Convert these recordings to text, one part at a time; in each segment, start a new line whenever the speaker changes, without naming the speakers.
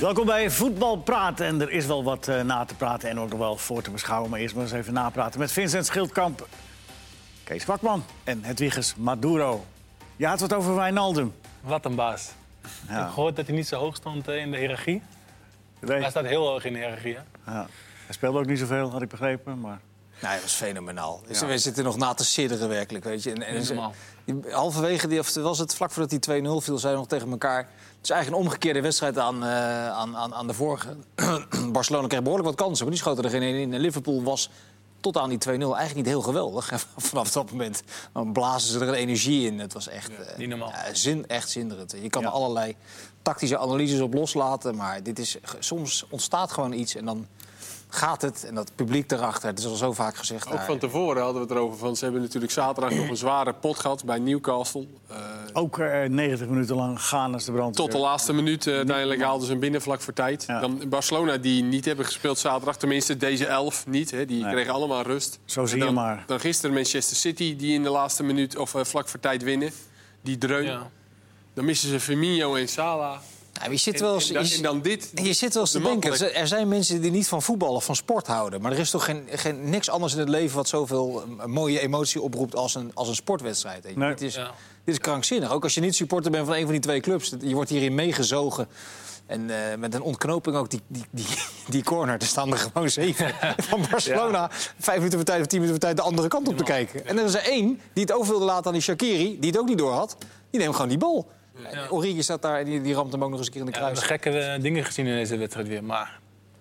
Welkom bij Voetbal Praat. En er is wel wat eh, na te praten en ook nog wel voor te beschouwen. Maar eerst maar eens even napraten met Vincent Schildkamp, Kees Kwakman en Hedwiges Maduro. Je had het over Wijnaldum.
Wat een baas. Ik
Ja.
heb gehoord dat hij niet zo hoog stond eh, in de hiërarchie.
Nee,
Hij staat heel hoog in de hiërarchie. hè?
ja. Hij speelde ook niet zoveel, had ik begrepen. Maar...
Nee, dat was fenomenaal. Dus We zitten nog na te sidderen werkelijk, weet je. En, en
Niet normaal.
die- halverwege, die, of was het vlak voordat die 2-0 viel, zijn we nog tegen elkaar... Het is eigenlijk een omgekeerde wedstrijd aan, eh, aan, aan, aan de vorige. Barcelona kreeg behoorlijk wat kansen, maar die schoten er geen één in. En Liverpool was tot aan die 2-0 eigenlijk niet heel geweldig. En vanaf dat moment dan blazen ze er een energie in. Het was echt, eh,
niet normaal.
ja, zin, echt zinderend. Je kan
Ja.
er allerlei tactische analyses op loslaten, maar dit is, ge- soms ontstaat gewoon iets en dan... Gaat het en dat publiek erachter, het is al zo vaak gezegd.
Ook
daar.
van tevoren hadden we het erover. Van, ze hebben natuurlijk zaterdag nog een zware pot gehad bij Newcastle. Eh,
Ook eh, 90 minuten lang gaan als de brand.
tot de laatste minuut. eh, uiteindelijk haalden ze een binnenvlak voor tijd.
Ja.
Dan Barcelona, die niet hebben gespeeld zaterdag. Tenminste, deze elf niet. Hè, die
Nee.
kregen allemaal rust.
Zo zie
En dan,
je maar.
Dan gisteren Manchester City, die in de laatste minuut of eh, vlak voor tijd winnen. Die dreun.
Ja.
Dan missen ze Firmino en Salah.
Nou, je zit
En,
wel
en,
eens,
dan,
je,
en dan dit.
je zit wel eens te
de
denken.
makkelijk-
Er zijn mensen die niet van voetbal of van sport houden. Maar er is toch geen, geen, niks anders in het leven wat zoveel eh, mooie emotie oproept als een, als een sportwedstrijd. weet je.
Nee.
Dit, is,
Ja.
dit is krankzinnig. Ook als je niet supporter bent van een van die twee clubs. Je wordt hierin meegezogen. En eh, met een ontknoping ook die, die, die, die corner. Er staan er gewoon zeven van Barcelona. Vijf minuten voor tijd of tien minuten voor tijd de andere kant op te kijken. En er is er één die het over wilde laten aan die Shakiri. Die het ook niet door had. Die neemt gewoon die bal. En Origi staat daar en die, die ramt hem ook nog eens een keer in de
Ja, we hebben
kruis.
gekke eh, dingen gezien in deze wedstrijd weer. Maar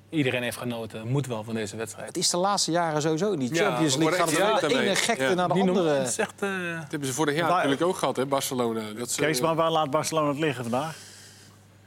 iedereen heeft genoten. Moet wel van deze wedstrijd.
Het is de laatste jaren sowieso in die
Ja,
Champions
we
League.
worden
Gaat
echt
het van de
verwend
ene
daarmee.
gekte
Ja.
naar de
Niet normaal.
andere.
Het is echt... eh,
Dat hebben ze vorig jaar
Waar-
natuurlijk ook gehad, hè, Barcelona. Dat ze-
Kees, maar waar laat Barcelona het liggen vandaag?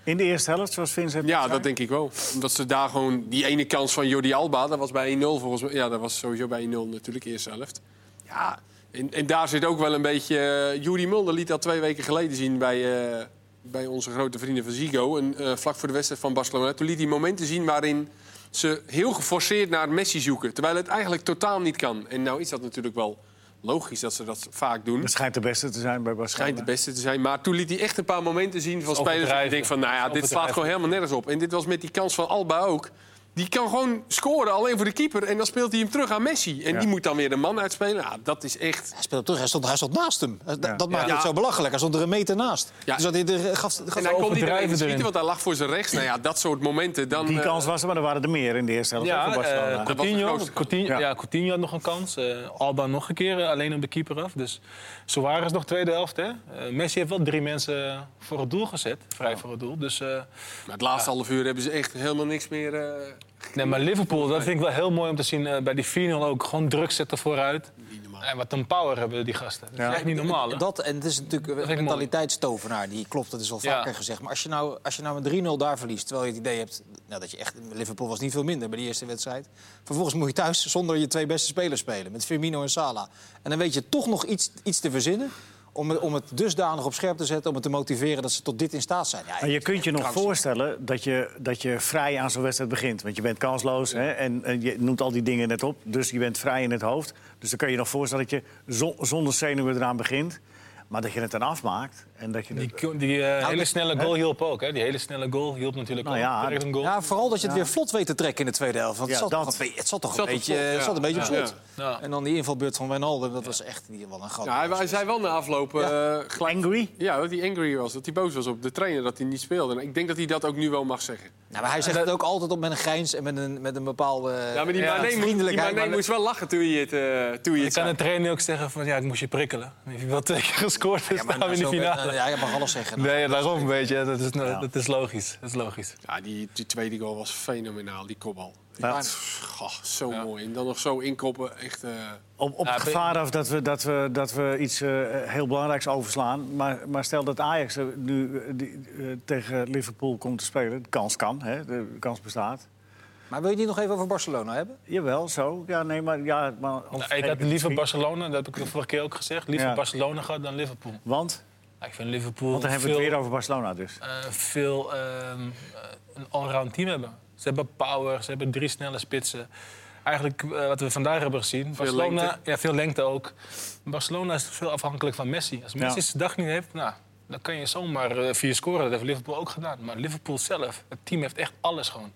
In de eerste helft, zoals Vincent
Ja,
zei?
dat denk ik wel. Omdat ze daar gewoon die ene kans van Jordi Alba, dat was bij 1-0 volgens mij. Ja, dat was sowieso bij 1-0 natuurlijk, eerste helft. Ja, en, en daar zit ook wel een beetje. eh Jordi Mulder liet dat twee weken geleden zien bij, eh, bij onze grote vrienden van Zigo. En, eh, vlak voor de wedstrijd van Barcelona. Toen liet hij momenten zien waarin ze heel geforceerd naar Messi zoeken. Terwijl het eigenlijk totaal niet kan. En nou is dat natuurlijk wel logisch dat ze dat vaak doen.
Het schijnt de beste te zijn bij Barcelona.
Schijnt de beste te zijn. Maar toen liet hij echt een paar momenten zien van spelers.
overdrijven.
Ik denk van, nou ja,
Dat is
dit slaat gewoon helemaal nergens op. En dit was met die kans van Alba ook. Die kan gewoon scoren, alleen voor de keeper. En dan speelt hij hem terug aan Messi. En
Ja.
die moet dan weer een man uitspelen. Nou, dat is echt...
Hij speelt terug, hij stond, hij stond naast hem. Dat, dat maakt
Ja.
het zo belachelijk. Hij stond er een meter naast.
Ja.
Dus dat hij er gaf, gaf
En hij kon niet
overdrijven
alleen
erin.
schieten, want hij lag voor zijn rechts. Nou ja, dat soort momenten. Dan,
Die
eh,
kans was er, maar er waren er meer in de eerste helft hè, voor
ja, eh,
Barcelona.
Dat was de
Coutinho,
grootste.
Coutinho,
Ja.
ja. Coutinho had nog een kans. Eh, Alba nog een keer, eh, alleen op de keeper af. Dus Suarez nog tweede helft. Hè? Eh, Messi heeft wel drie mensen voor het doel gezet. Vrij voor het doel. Dus... eh,
maar het laatste half uur hebben ze echt helemaal niks meer... eh,
Nee, maar Liverpool, dat vind ik wel heel mooi om te zien eh, bij die 4-0 ook. Gewoon druk zetten vooruit. En wat een power hebben die gasten. Dat is
Ja.
echt niet normaal, hè?
Dat, en het is natuurlijk
vind
een
ik
mentaliteitstovenaar. Die klopt, dat is al
Ja.
vaker gezegd. Maar als je nou, als je nou met 3-0 daar verliest, terwijl je het idee hebt... Nou, dat je echt, Liverpool was niet veel minder bij die eerste wedstrijd. Vervolgens moet je thuis zonder je twee beste spelers spelen. Met Firmino en Salah. En dan weet je toch nog iets, iets te verzinnen... Om het, om het dusdanig op scherp te zetten, om het te motiveren dat ze tot dit in staat zijn. Ja,
Maar je kunt je nog
krankzinnig.
voorstellen dat je, dat je vrij aan zo'n wedstrijd begint. Want je bent kansloos hè, en, en je noemt al die dingen net op. Dus je bent vrij in het hoofd. Dus dan kun je nog voorstellen dat je zo- zonder zenuwen eraan begint. Maar dat je het dan afmaakt. En dat je
Die,
het-
die eh, hele snelle goal hielp ook, hè? Die hele snelle goal hielp natuurlijk
Nou
ook.
ja,
Direct een goal.
Ja, vooral dat je het weer vlot weet te trekken in de tweede helft. Want het,
Ja,
zat
dat.
toch een, be- het zat toch
zat
een
op
beetje,
slot, ja.
het zat een beetje op
Ja.
slot.
Ja.
En dan die invalbeurt van Wijnaldum, dat was echt niet wel een gat.
ja, Nou, hij, hij zei wel na afloop... eh, gelijk-
Angry?
Ja, dat hij angry was. Dat hij boos was op de trainer, dat hij niet speelde. En ik denk dat hij dat ook nu wel mag zeggen.
Nou, maar hij zegt het ook altijd op met een grijns en met een, met een bepaalde
Ja, maar die
Ja,
Mané moest- die
vriendelijkheid,
Mané
maar-
moest wel lachen toen je het, eh toen je
Ik
het
kan de
zei.
trainer ook zeggen van ja, ik moest je prikkelen. Heb je wel twee keer gescoord, dus
Ja,
staan we in de
zo-
finale.
Ja, je mag alles zeggen.
Nee, daarom weet je. Dat is, dat is logisch. Dat is logisch.
Ja, die, die tweede goal was fenomenaal, die kopbal.
Ja.
Pff, Goh, zo mooi. En dan nog zo inkoppen, echt... eh,
Op, op
Ja,
het gevaar af dat we, dat we, dat we iets eh, heel belangrijks overslaan. Maar, maar stel dat Ajax eh, nu eh, die, eh, tegen Liverpool komt te spelen. De kans kan, hè? de kans bestaat.
Maar wil je die nog even over Barcelona hebben?
Jawel, zo. Ja, nee, maar... Ja, maar
Nou, ik had liever Barcelona, dat heb ik de vorige keer ook gezegd. Liever
Ja.
Barcelona gehad dan Liverpool.
Want?
Ja, Ik vind Liverpool
Want dan hebben we
veel-
het weer over Barcelona dus.
eh, veel ehm, eh, een allround team hebben. Ze hebben power, ze hebben drie snelle spitsen. Eigenlijk eh, wat we vandaag hebben gezien. Barcelona,
lengte.
Ja, veel lengte ook. Barcelona is veel afhankelijk van Messi. Als Messi
Ja.
zijn dag niet heeft, nou, Dan kan je zomaar eh, vier scoren. Dat heeft Liverpool ook gedaan. Maar Liverpool zelf, het team heeft echt alles gewoon.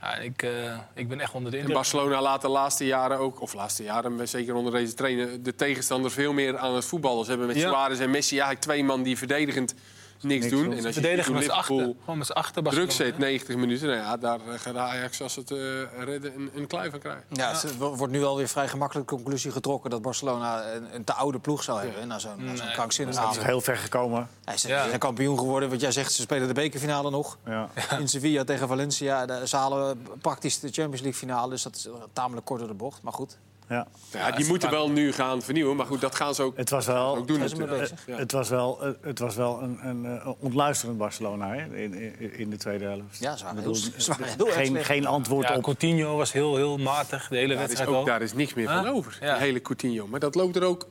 Ja, ik, eh, ik ben echt onder de
En
indruk.
Barcelona laat de laatste jaren ook, of laatste jaren, maar zeker onder deze trainer, de tegenstanders veel meer aan het voetballen. Ze hebben met
Ja.
Suarez en Messi eigenlijk twee man die verdedigend niks,
Niks
doen.
doen.
En als je ziet
Verdedigen
hoe
met z'n achter.
Liverpool
Gewoon met z'n achter
druk
Barcelona,
zet,
hè?
90 minuten, nou ja, daar eh, gaat Ajax als het eh, redden een, een klui van krijgen.
Ja, het wo- wordt nu alweer vrij gemakkelijk de conclusie getrokken dat Barcelona een, een te oude ploeg zou hebben. hè, Na zo'n na zo'n
Nee.
krankzinnige
Dat is
avond.
heel ver gekomen.
Hij is
Ja.
hij is een kampioen geworden, want jij zegt ze spelen de bekerfinale nog.
Ja.
In Sevilla tegen Valencia, de zalen praktisch de Champions League finale. Dus dat is tamelijk kort door de bocht, maar goed.
Ja.
Ja, die moeten wel nu gaan vernieuwen, maar goed, dat gaan ze ook,
Het was wel,
ook doen
zijn ze mee
natuurlijk.
bezig.
eh, het was wel, eh, het was wel een, een eh, ontluisterend Barcelona hè, in, in, in de tweede helft.
Ja, ze waren
Ik bedoel,
heel- ze waren
eh,
heel erg
geen,
slecht.
geen antwoord
Ja,
op.
Coutinho was heel, heel matig de hele
Daar is,
wedstrijd
ook,
al.
daar is niks meer van
Huh?
over,
Ja.
die hele Coutinho. Maar dat loopt er ook...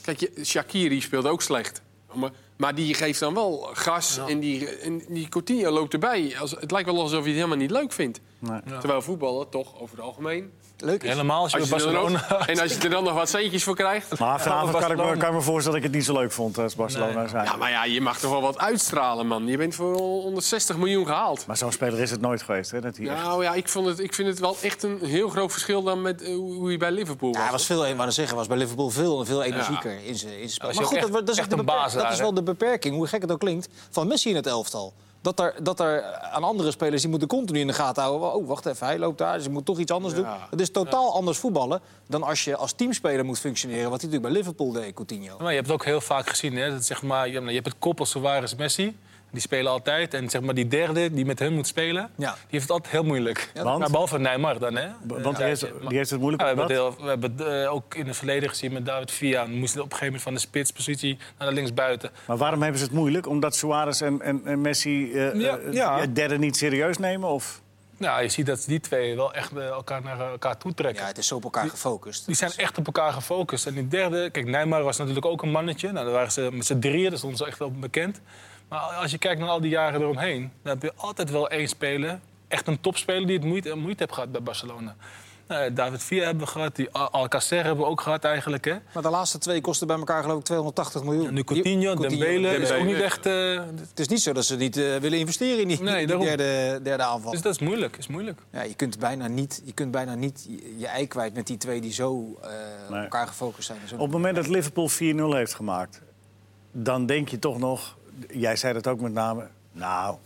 Kijk, je- Shakiri speelde ook slecht. Maar, maar die geeft dan wel gas en, die, en die Coutinho loopt erbij. Als, het lijkt wel alsof hij het helemaal niet leuk vindt.
Nee.
Ja.
Terwijl voetballen toch over het algemeen...
Leuk is.
Helemaal als je, bij
er dan
Barcelona...
ook- en als je er dan nog wat centjes voor krijgt...
Maar vanavond kan ik, me,
Barcelona.
kan ik me voorstellen dat ik het niet zo leuk vond als Barcelona
Nee.
zijn.
Ja, maar ja, je mag toch wel wat uitstralen, man. Je bent voor 160 miljoen gehaald.
Maar zo'n speler is het nooit geweest. Hè, dat hij echt-
Nou ja, ik, vond het, ik vind het wel echt een heel groot verschil dan met eh, hoe hoe hij bij Liverpool was.
Ja, hij was veel, maar dan zeggen, was bij Liverpool veel, veel energieker in zijn in zijn spel.
was
Maar
ook
goed,
echt-
dat, wordt- dat, is
echt
de
een
beper-
baas
dat
daar,
is
hè?
wel de beperking, hoe gek het ook klinkt, van Messi in het elftal. Dat er, dat er aan andere spelers, die moeten continu in de gaten houden. Oh, wacht even, hij loopt daar, dus je moet toch iets anders doen. Het is totaal anders voetballen dan als je als teamspeler moet functioneren. Wat hij natuurlijk bij Liverpool deed, Coutinho.
Maar je hebt het ook heel vaak gezien. Hè? Dat, zeg maar, je hebt- je hebt het koppel Suarez Messi. Die spelen altijd. En zeg maar, die derde die met hem moet spelen,
Ja.
die heeft het altijd heel moeilijk.
Want?
Maar behalve Neymar dan, hè?
B- Want die heeft, die heeft het moeilijk.
eh, Ja, we hebben,
omdat-
het heel- we hebben het eh, ook in het verleden gezien met David Villa. Dan moest hij op een gegeven moment van de spitspositie naar de linksbuiten.
Maar waarom hebben ze het moeilijk? Omdat Suarez en, en, en Messi eh,
Ja,
eh,
ja.
het derde niet serieus nemen? Of?
Nou, je ziet dat die twee wel echt eh, elkaar naar eh, elkaar toe trekken.
Ja, het is zo op elkaar gefocust.
Die zijn echt op elkaar gefocust. En die derde, kijk, Neymar was natuurlijk ook een mannetje. Nou, daar waren ze met z'n drieën, dat stond ze echt wel bekend. Maar als je kijkt naar al die jaren eromheen, dan heb je altijd wel één speler. Echt een topspeler die het moeite, moeite heeft gehad bij Barcelona. Nou, ja, David Villa hebben we gehad, die Al- Alcacer hebben we ook gehad eigenlijk. Hè.
Maar de laatste twee kosten bij elkaar geloof ik 280 miljoen.
En nu Coutinho, Dembele, dat is ook
Dembele.
niet echt... eh, d-
Het is niet zo dat ze niet eh, willen investeren in die,
Nee,
die
daarom.
derde, derde aanval.
dus dat is moeilijk, is moeilijk.
Ja, je kunt bijna niet, je, kunt bijna niet je, je ei kwijt met die twee die zo eh, op
Nee.
elkaar gefocust zijn. Zo.
Op het moment dat Liverpool 4-0 heeft gemaakt, dan denk je toch nog, jij zei dat ook met name, nou,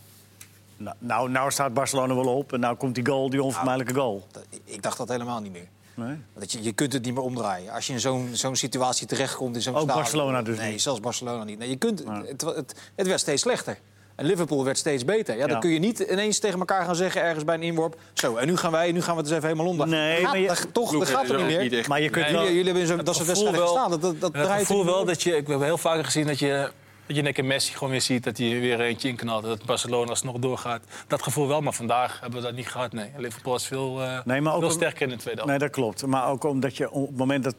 nou, nou, nou staat Barcelona wel op en nou komt die goal, die onvermijdelijke goal.
Dat- Ik dacht dat helemaal niet meer.
Nee?
Dat je, je kunt het niet meer omdraaien. Als je in zo'n zo'n situatie terechtkomt in zo'n
Ook
stadion-
Barcelona dus
nee,
niet?
zelfs Barcelona niet. Nee, je kunt, het, het, het werd steeds slechter. En Liverpool werd steeds beter. Ja, dan
Ja.
kun je niet ineens tegen elkaar gaan zeggen ergens bij een inworp... zo, en nu gaan wij, nu gaan we het eens even helemaal onder.
Nee,
Gaat-
maar je-
dat- toch, dat
Ploegen
gaat
is
er niet
eh, ook
meer.
niet echt-
Maar je kunt
Nee,
wel...
jullie, jullie hebben in zo'n- dat
Het
soort wedstrijden
gevoel
gestaan.
wel-
Dat, dat, dat
het
draait
gevoel
er niet
wel
om.
dat je... Ik heb heel vaker gezien dat je... Dat je een keer Messi gewoon weer ziet dat hij weer eentje inknalt. Dat Barcelona alsnog doorgaat. Dat gevoel wel, maar vandaag hebben we dat niet gehad. Nee, Liverpool is veel, eh,
Nee, maar ook
veel
een-
sterker in de tweede helft.
Nee, dat klopt. Maar ook omdat je op het moment dat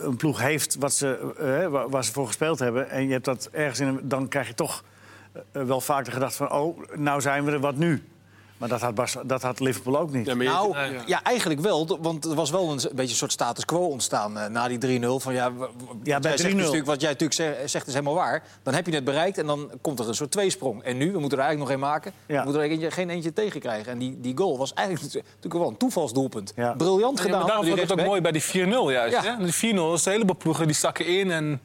een ploeg heeft wat ze, eh, wa- waar ze voor gespeeld hebben... en je hebt dat ergens in... een- dan krijg je toch eh, wel vaak de gedachte van... oh, nou zijn we er, wat nu? Maar dat had, Barce- dat had Liverpool ook niet.
Ja, maar je-
Nou,
Nee.
ja. eigenlijk wel. d- Want er was wel een, s- beetje een soort status quo ontstaan eh, na die 3-0. Van ja, w- w- wat jij zegt
3-0.
natuurlijk- Wat jij natuurlijk ze- zegt is helemaal waar. Dan heb je het bereikt en dan komt er een soort tweesprong. En nu, we moeten er eigenlijk nog één maken.
Ja.
We moeten er eentje- geen eentje tegen krijgen. En die, die goal was eigenlijk natu- natuurlijk wel een toevalsdoelpunt.
Ja.
Briljant
Ja,
gedaan.
maar daarom vond
door die
ik het ook
rechtsback.
mooi bij die 4-0 juist.
Ja.
Hè? Die 4-0 is een heleboel ploegen die zakken in en...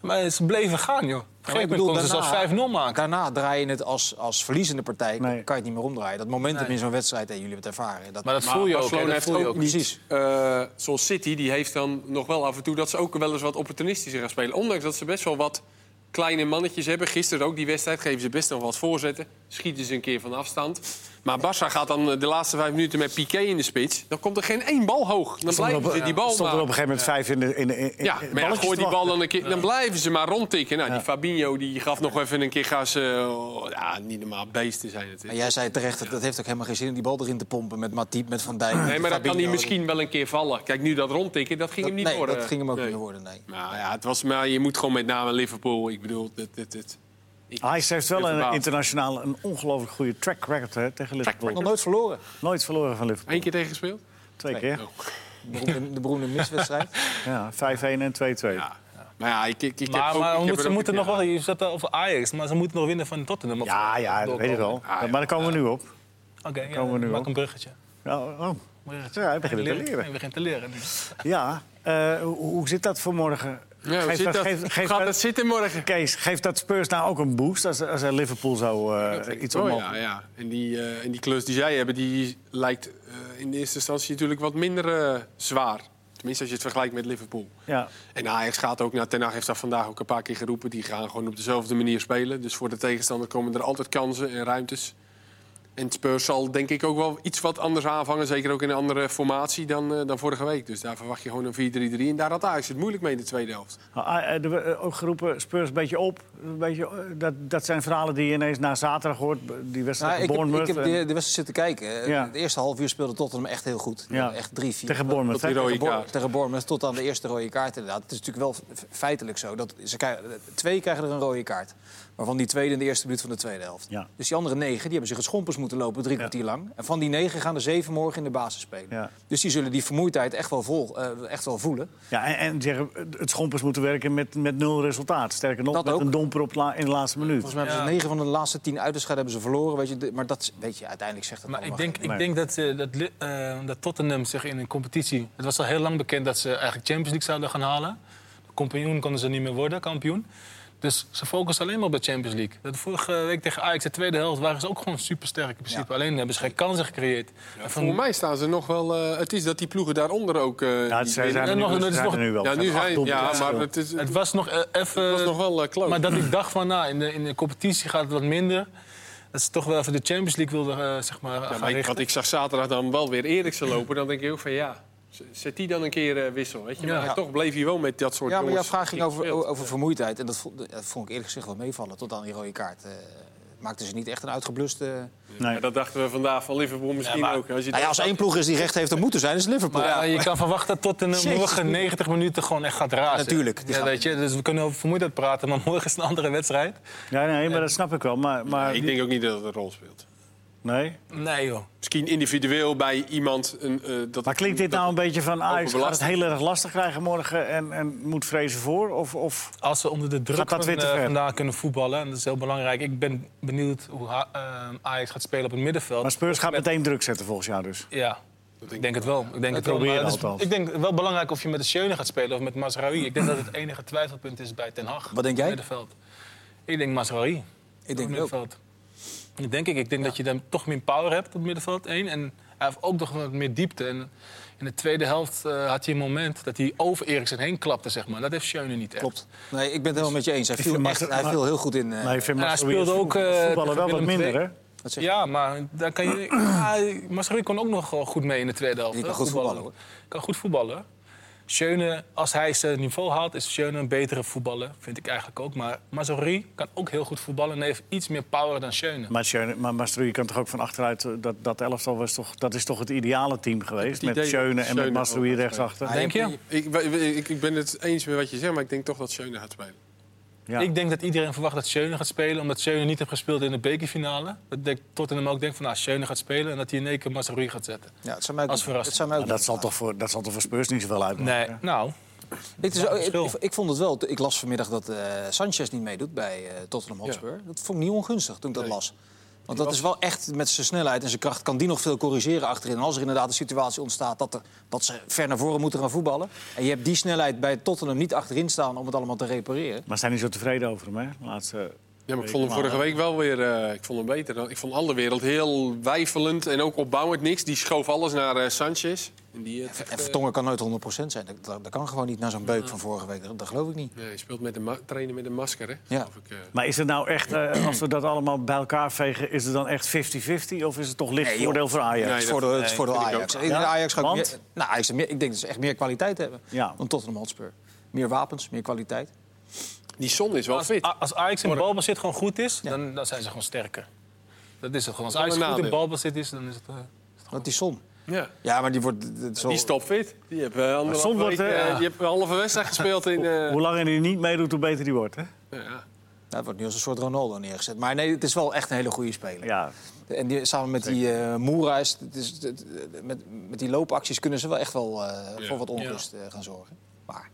Maar ze bleven gaan, joh. Op een
Ja,
gegeven
maar
moment konden ze
daarna-
zelfs 5-0 maken.
Daarna draai je het als, als verliezende partij. Dan
Nee.
kan je het niet meer omdraaien. Dat momentum
Nee.
in zo'n wedstrijd, en jullie hebben het ervaren. Dat,
Maar dat
Maar
voel je ook. hè,
Barcelona
dat
heeft
voel je
ook
ook.
niet...
Precies.
eh, zoals City, die heeft dan nog wel af en toe... dat ze ook wel eens wat opportunistischer gaan spelen. Ondanks dat ze best wel wat kleine mannetjes hebben. Gisteren ook die wedstrijd geven ze best nog wat voorzetten. Schieten ze een keer van afstand. Maar Barça gaat dan eh, de laatste vijf minuten met Piqué in de spits. Dan komt er geen één bal hoog. Dan
Stond er op,
blijven ze die
stond
bal
er op een
maar...
gegeven moment vijf in de in, de- in, in
Ja, maar ja,
balletjes
gooi
te
die bal
wachten.
dan een keer. Dan blijven ze maar rondtikken. Nou, die Fabinho die gaf nog even een keer gas. eh, oh, ja, niet normaal beesten zijn het.
Maar jij zei terecht, dat, dat heeft ook helemaal geen zin om die bal erin te pompen met Matip, met Van Dijk.
Nee,
met
maar dat kan hij
Fabinho.
misschien wel een keer vallen. Kijk, nu dat rondtikken, dat ging
Dat-
hem niet
nee,
worden.
dat ging hem ook
Nee.
niet worden, nee.
Nou ja, het was, maar je moet gewoon met name Liverpool. Ik bedoel, dit, dit, dit.
Ajax heeft wel
Heel
een
verbaasd.
internationaal een ongelooflijk goede track record hè, tegen Liverpool.
Nog nooit verloren.
Nooit verloren van Liverpool.
Eén keer tegen gespeeld? Oh,
Twee keer.
De beroemde, de beroemde miswedstrijd. Nou,
Ja, 5-1 en 2-2.
Ja. Maar ja, ik, ik, ik heb
Maar,
ook-
maar
ik
hoe
heb
moet-
er
ze
ook-
moeten
ja.
nog wel, je zat daar over Ajax, maar ze moeten nog winnen van Tottenham. of-
Ja, ja, dat weet ik wel.
Ah, ja.
Maar daar komen we nu op.
Oké, ja,
Komen we nu
maak
op.
een bruggetje.
Nou, oh.
bruggetje.
Ja, hij begint te
Hij
leren.
begint te leren nu.
Ja, eh, hoe, hoe zit dat voor morgen?
Ja, hoe
Geeft
zit dat?
geeft- geeft
Gaat
dat-
dat zitten morgen?
Kees, geeft dat Spurs nou ook een boost als, als er Liverpool zo eh, iets
Oh,
omhoog?
ja, ja. En, die, eh, en die klus die zij hebben, die lijkt eh, in de eerste instantie natuurlijk wat minder eh, zwaar. Tenminste, als je het vergelijkt met Liverpool.
Ja.
En Ajax gaat ook naar Ten Hag heeft dat vandaag ook een paar keer geroepen. Die gaan gewoon op dezelfde manier spelen. Dus voor de tegenstander komen er altijd kansen en ruimtes. En Spurs zal denk ik ook wel iets wat anders aanvangen. Zeker ook in een andere formatie dan, eh, dan vorige week. Dus daar verwacht je gewoon een 4-3-3. En daar had Ajax het moeilijk mee in de tweede helft.
Nou, ah, eh, er werd, eh, ook geroepen, Spurs een beetje op. Een beetje, eh, dat, dat zijn verhalen die je ineens na zaterdag hoort. Die wedstrijd
Nou, ik,
tegen
heb, ik
Bournemouth.
heb de, de
en-
wedstrijd zitten kijken.
Ja.
Het eerste half uur speelde Tottenham echt heel goed.
Ja.
Echt drie, vier.
tegen Bournemouth,
tot die
hè?
rode-
Tegen Bour-
kaart.
Tegen Bournemouth tot aan de eerste rode kaart inderdaad. Het is natuurlijk wel f- feitelijk zo. Dat ze krijgen, twee krijgen er een rode kaart. Waarvan die tweede in de eerste minuut van de tweede helft.
Ja.
Dus die andere negen die hebben zich het schompers moeten lopen drie kwartier lang. En van die negen gaan er zeven morgen in de basis spelen.
Ja.
Dus die zullen die vermoeidheid echt wel, vol, eh, echt wel voelen.
Ja, en, en zeggen, eh, het schompers moeten werken met, met nul resultaat. Sterker nog,
Dat
met
ook.
een domper op la- in de laatste minuut.
Volgens mij hebben ze negen van de laatste tien uitwedstrijden hebben ze verloren. Weet je, de- maar dat, is- weet je, uiteindelijk zegt dat
Maar
Oh,
ik
allemaal
denk,
geen-
ik denk dat, eh, dat, Li- eh, dat Tottenham zich in een competitie... Het was al heel lang bekend dat ze eigenlijk Champions League zouden gaan halen. Kampioen konden ze niet meer worden, kampioen. Dus ze focussen alleen maar op de Champions League. Dat vorige week tegen Ajax, de tweede helft, waren ze ook gewoon supersterk in principe. Alleen hebben ze geen kansen gecreëerd. En van-
Voor mij staan ze nog wel... eh, het is dat die ploegen daaronder ook... eh,
Ja, het
niet
Nou, zijn,
winnen.
zijn, er
En
nu,
nog-
ze
dat is
zijn
nog-
er nu wel.
Ja,
Ze
nu
hebben acht
zijn,
doelpunten
ja, maar
verschil.
het is,
het was nog eh, even...
Het was nog wel eh, kloot.
Maar dat ik dacht van, nou, in de, in de competitie gaat het wat minder. Dat ze toch wel even de Champions League wilden, eh, zeg maar,
Ja,
gaan
maar ik,
richten.
want ik zag zaterdag dan wel weer Eriksen lopen. Dan denk ik ook van ja, z- zet die dan een keer eh, wissel. Weet je? Maar
Ja.
toch bleef hij wel met dat soort
Ja, maar jouw
jongens.
vraag ging over,
gespeeld.
over vermoeidheid. En dat vond, dat vond ik eerlijk gezegd wel meevallen. Tot aan die rode kaart. eh maakte ze niet echt een uitgebluste...
Nee.
Ja, dat dachten we vandaag van Liverpool misschien
Ja, maar-
ook. Als Dus je
Nou ja, als één ploeg is die recht heeft te moeten zijn, is het Liverpool.
Maar
Ja.
eh, je kan verwachten tot een
Jezus.
morgen 90 minuten gewoon echt gaat razen.
Natuurlijk, die
Ja,
gaat-
weet je, dus we kunnen over vermoeidheid praten, maar morgen is een andere wedstrijd.
Ja, nee, maar dat snap ik wel. Maar, maar,
ik denk ook niet dat het een rol speelt.
nee.
Nee joh.
Misschien individueel bij iemand. Een, eh, dat
maar klinkt dit
dat-
nou een beetje van... Ajax gaat het
overbelasting.
heel erg lastig krijgen morgen en, en moet vrezen voor? Of, of
Als ze onder de
Gaat
druk
dat
van,
weer te
eh,
ver?
vandaan kunnen voetballen, en dat is heel belangrijk. Ik ben benieuwd hoe Ha- eh, Ajax gaat spelen op het middenveld.
Maar Speurs gaat meteen druk zetten volgens jou dus.
Ja, ik denk het wel. Ik denk het wel.
proberen
Maar het is-
althans.
ik denk wel belangrijk of je met de Schöne gaat spelen of met Masraoui. Ik denk dat het enige twijfelpunt is bij Ten Hag.
Wat denk jij?
Middenveld. Ik denk Masraoui.
ik denk het ook.
middenveld. Dat denk ik. Ik denk dat je dan toch meer power hebt op het middenveld. Één. En hij heeft ook nog wat meer diepte. En in de tweede helft eh, had hij een moment dat hij over Eriksen heen klapte, zeg maar. Dat heeft Schöne niet echt.
Klopt. Nee, ik ben het helemaal met je eens. Hij viel,
vind
echt,
Marcel-
hij viel heel goed in. eh,
Maar ik vind
en hij
Marcel Wiersvoet-
speelde ook, eh,
voetballen wel wat
tegen Willem
minder,
II.
hè?
wat zeg je?
Ja, maar daar kan je. Ja, Masrui kon ook nog wel goed mee in de tweede helft.
Die kan
hè,
goed voetballen,
Kan goed voetballen. Schöne, als hij zijn niveau haalt, is Schöne een betere voetballer. Vind ik eigenlijk ook. Maar Masrui kan ook heel goed voetballen en heeft iets meer power dan Schöne.
Maar, Schöne, maar Maastricht kan toch ook van achteruit... eh, Dat, dat elftal was toch, dat is toch het ideale team geweest?
het
Met
idee dat
Schöne en met
Schöne
Maastricht
wel gaat
rechtsachter.
Hij
Denk
heeft-
je?
Ik, ik, ik ben het eens met wat je zegt, maar ik denk toch dat Schöne gaat spelen.
Ja.
Ik denk dat iedereen verwacht dat Schöne gaat spelen, omdat Schöne niet heeft gespeeld in de bekerfinale. Dat denk- Tottenham ook denkt van, nou, Schöne gaat spelen en dat hij in één keer Masrui gaat zetten.
Ja, het zou mij ook
Als
niet-
verrassing.
het zou mij ook
Maar dat,
niet
zal toch voor, dat zal toch voor Spurs niet zoveel uitmaken?
Nee, nou,
Ik, dus,
Ja,
ook- ik,
verschil.
ik- ik vond het wel. Ik las vanmiddag dat eh, Sanchez niet meedoet bij eh, Tottenham Hotspur. Dat vond ik niet ongunstig toen ik dat las. Want dat is wel echt met zijn snelheid en zijn kracht kan die nog veel corrigeren achterin. En als er inderdaad een situatie ontstaat dat, er, dat ze ver naar voren moeten gaan voetballen. En je hebt die snelheid bij Tottenham niet achterin staan om het allemaal te repareren.
Maar ze zijn niet zo tevreden over hem, hè? De Laatste...
Ja, maar ik
Weet
vond hem
je, maar-
vorige week wel weer eh, ik vond hem beter. dan- Ik vond alle wereld heel weifelend en ook opbouwend niks. Die schoof alles naar eh, Sanchez. En die, eh,
En Vertongen kan nooit 100% zijn. Dat, dat, dat kan gewoon niet na zo'n beuk van vorige week. Dat, dat geloof ik niet.
Nee, hij speelt met een ma- trainen met een masker, hè?
Ja.
Of ik, eh,
Maar is het nou echt, eh, als we dat allemaal bij elkaar vegen... is het dan echt 50-50 of is het toch licht
Nee, joh.
voordeel voor Ajax?
Nee.
het voordeel, het voordeel
vind ik
Ajax.
ook.
Ik denk
Ja,
dat Ajax gaat
want?
meer, nou, Ajax heeft meer- ik denk dat ze echt meer kwaliteit hebben
Ja.
dan Tottenham Hotspur. Meer wapens, meer kwaliteit.
Die zon is wel
als,
fit.
Ah.
A- als Ajax in balbezit gewoon goed is, dan, dan zijn ze gewoon sterker. Dat is het gewoon. Als
Dat is
Ajax
wel een
goed in
nadeel.
balbezit is, dan is het... eh,
Dat die som.
Ja.
Ja, maar die wordt. dat is wel-
Die is topfit. Die heeft eh, anderhalf
soms
week,
wordt, eh,
eh,
ja.
die heeft een halve wedstrijd gespeeld in... eh,
Hoe langer hij niet meedoet, hoe beter hij wordt, hè?
ja.
Nou, het wordt nu als een soort Ronaldo neergezet. Maar nee, het is wel echt een hele goede speler.
Ja,
En die, samen met die eh Moera, is, het is- het- het- met, met die loopacties kunnen ze wel echt wel eh, voor wat onrust eh, gaan zorgen. Maar.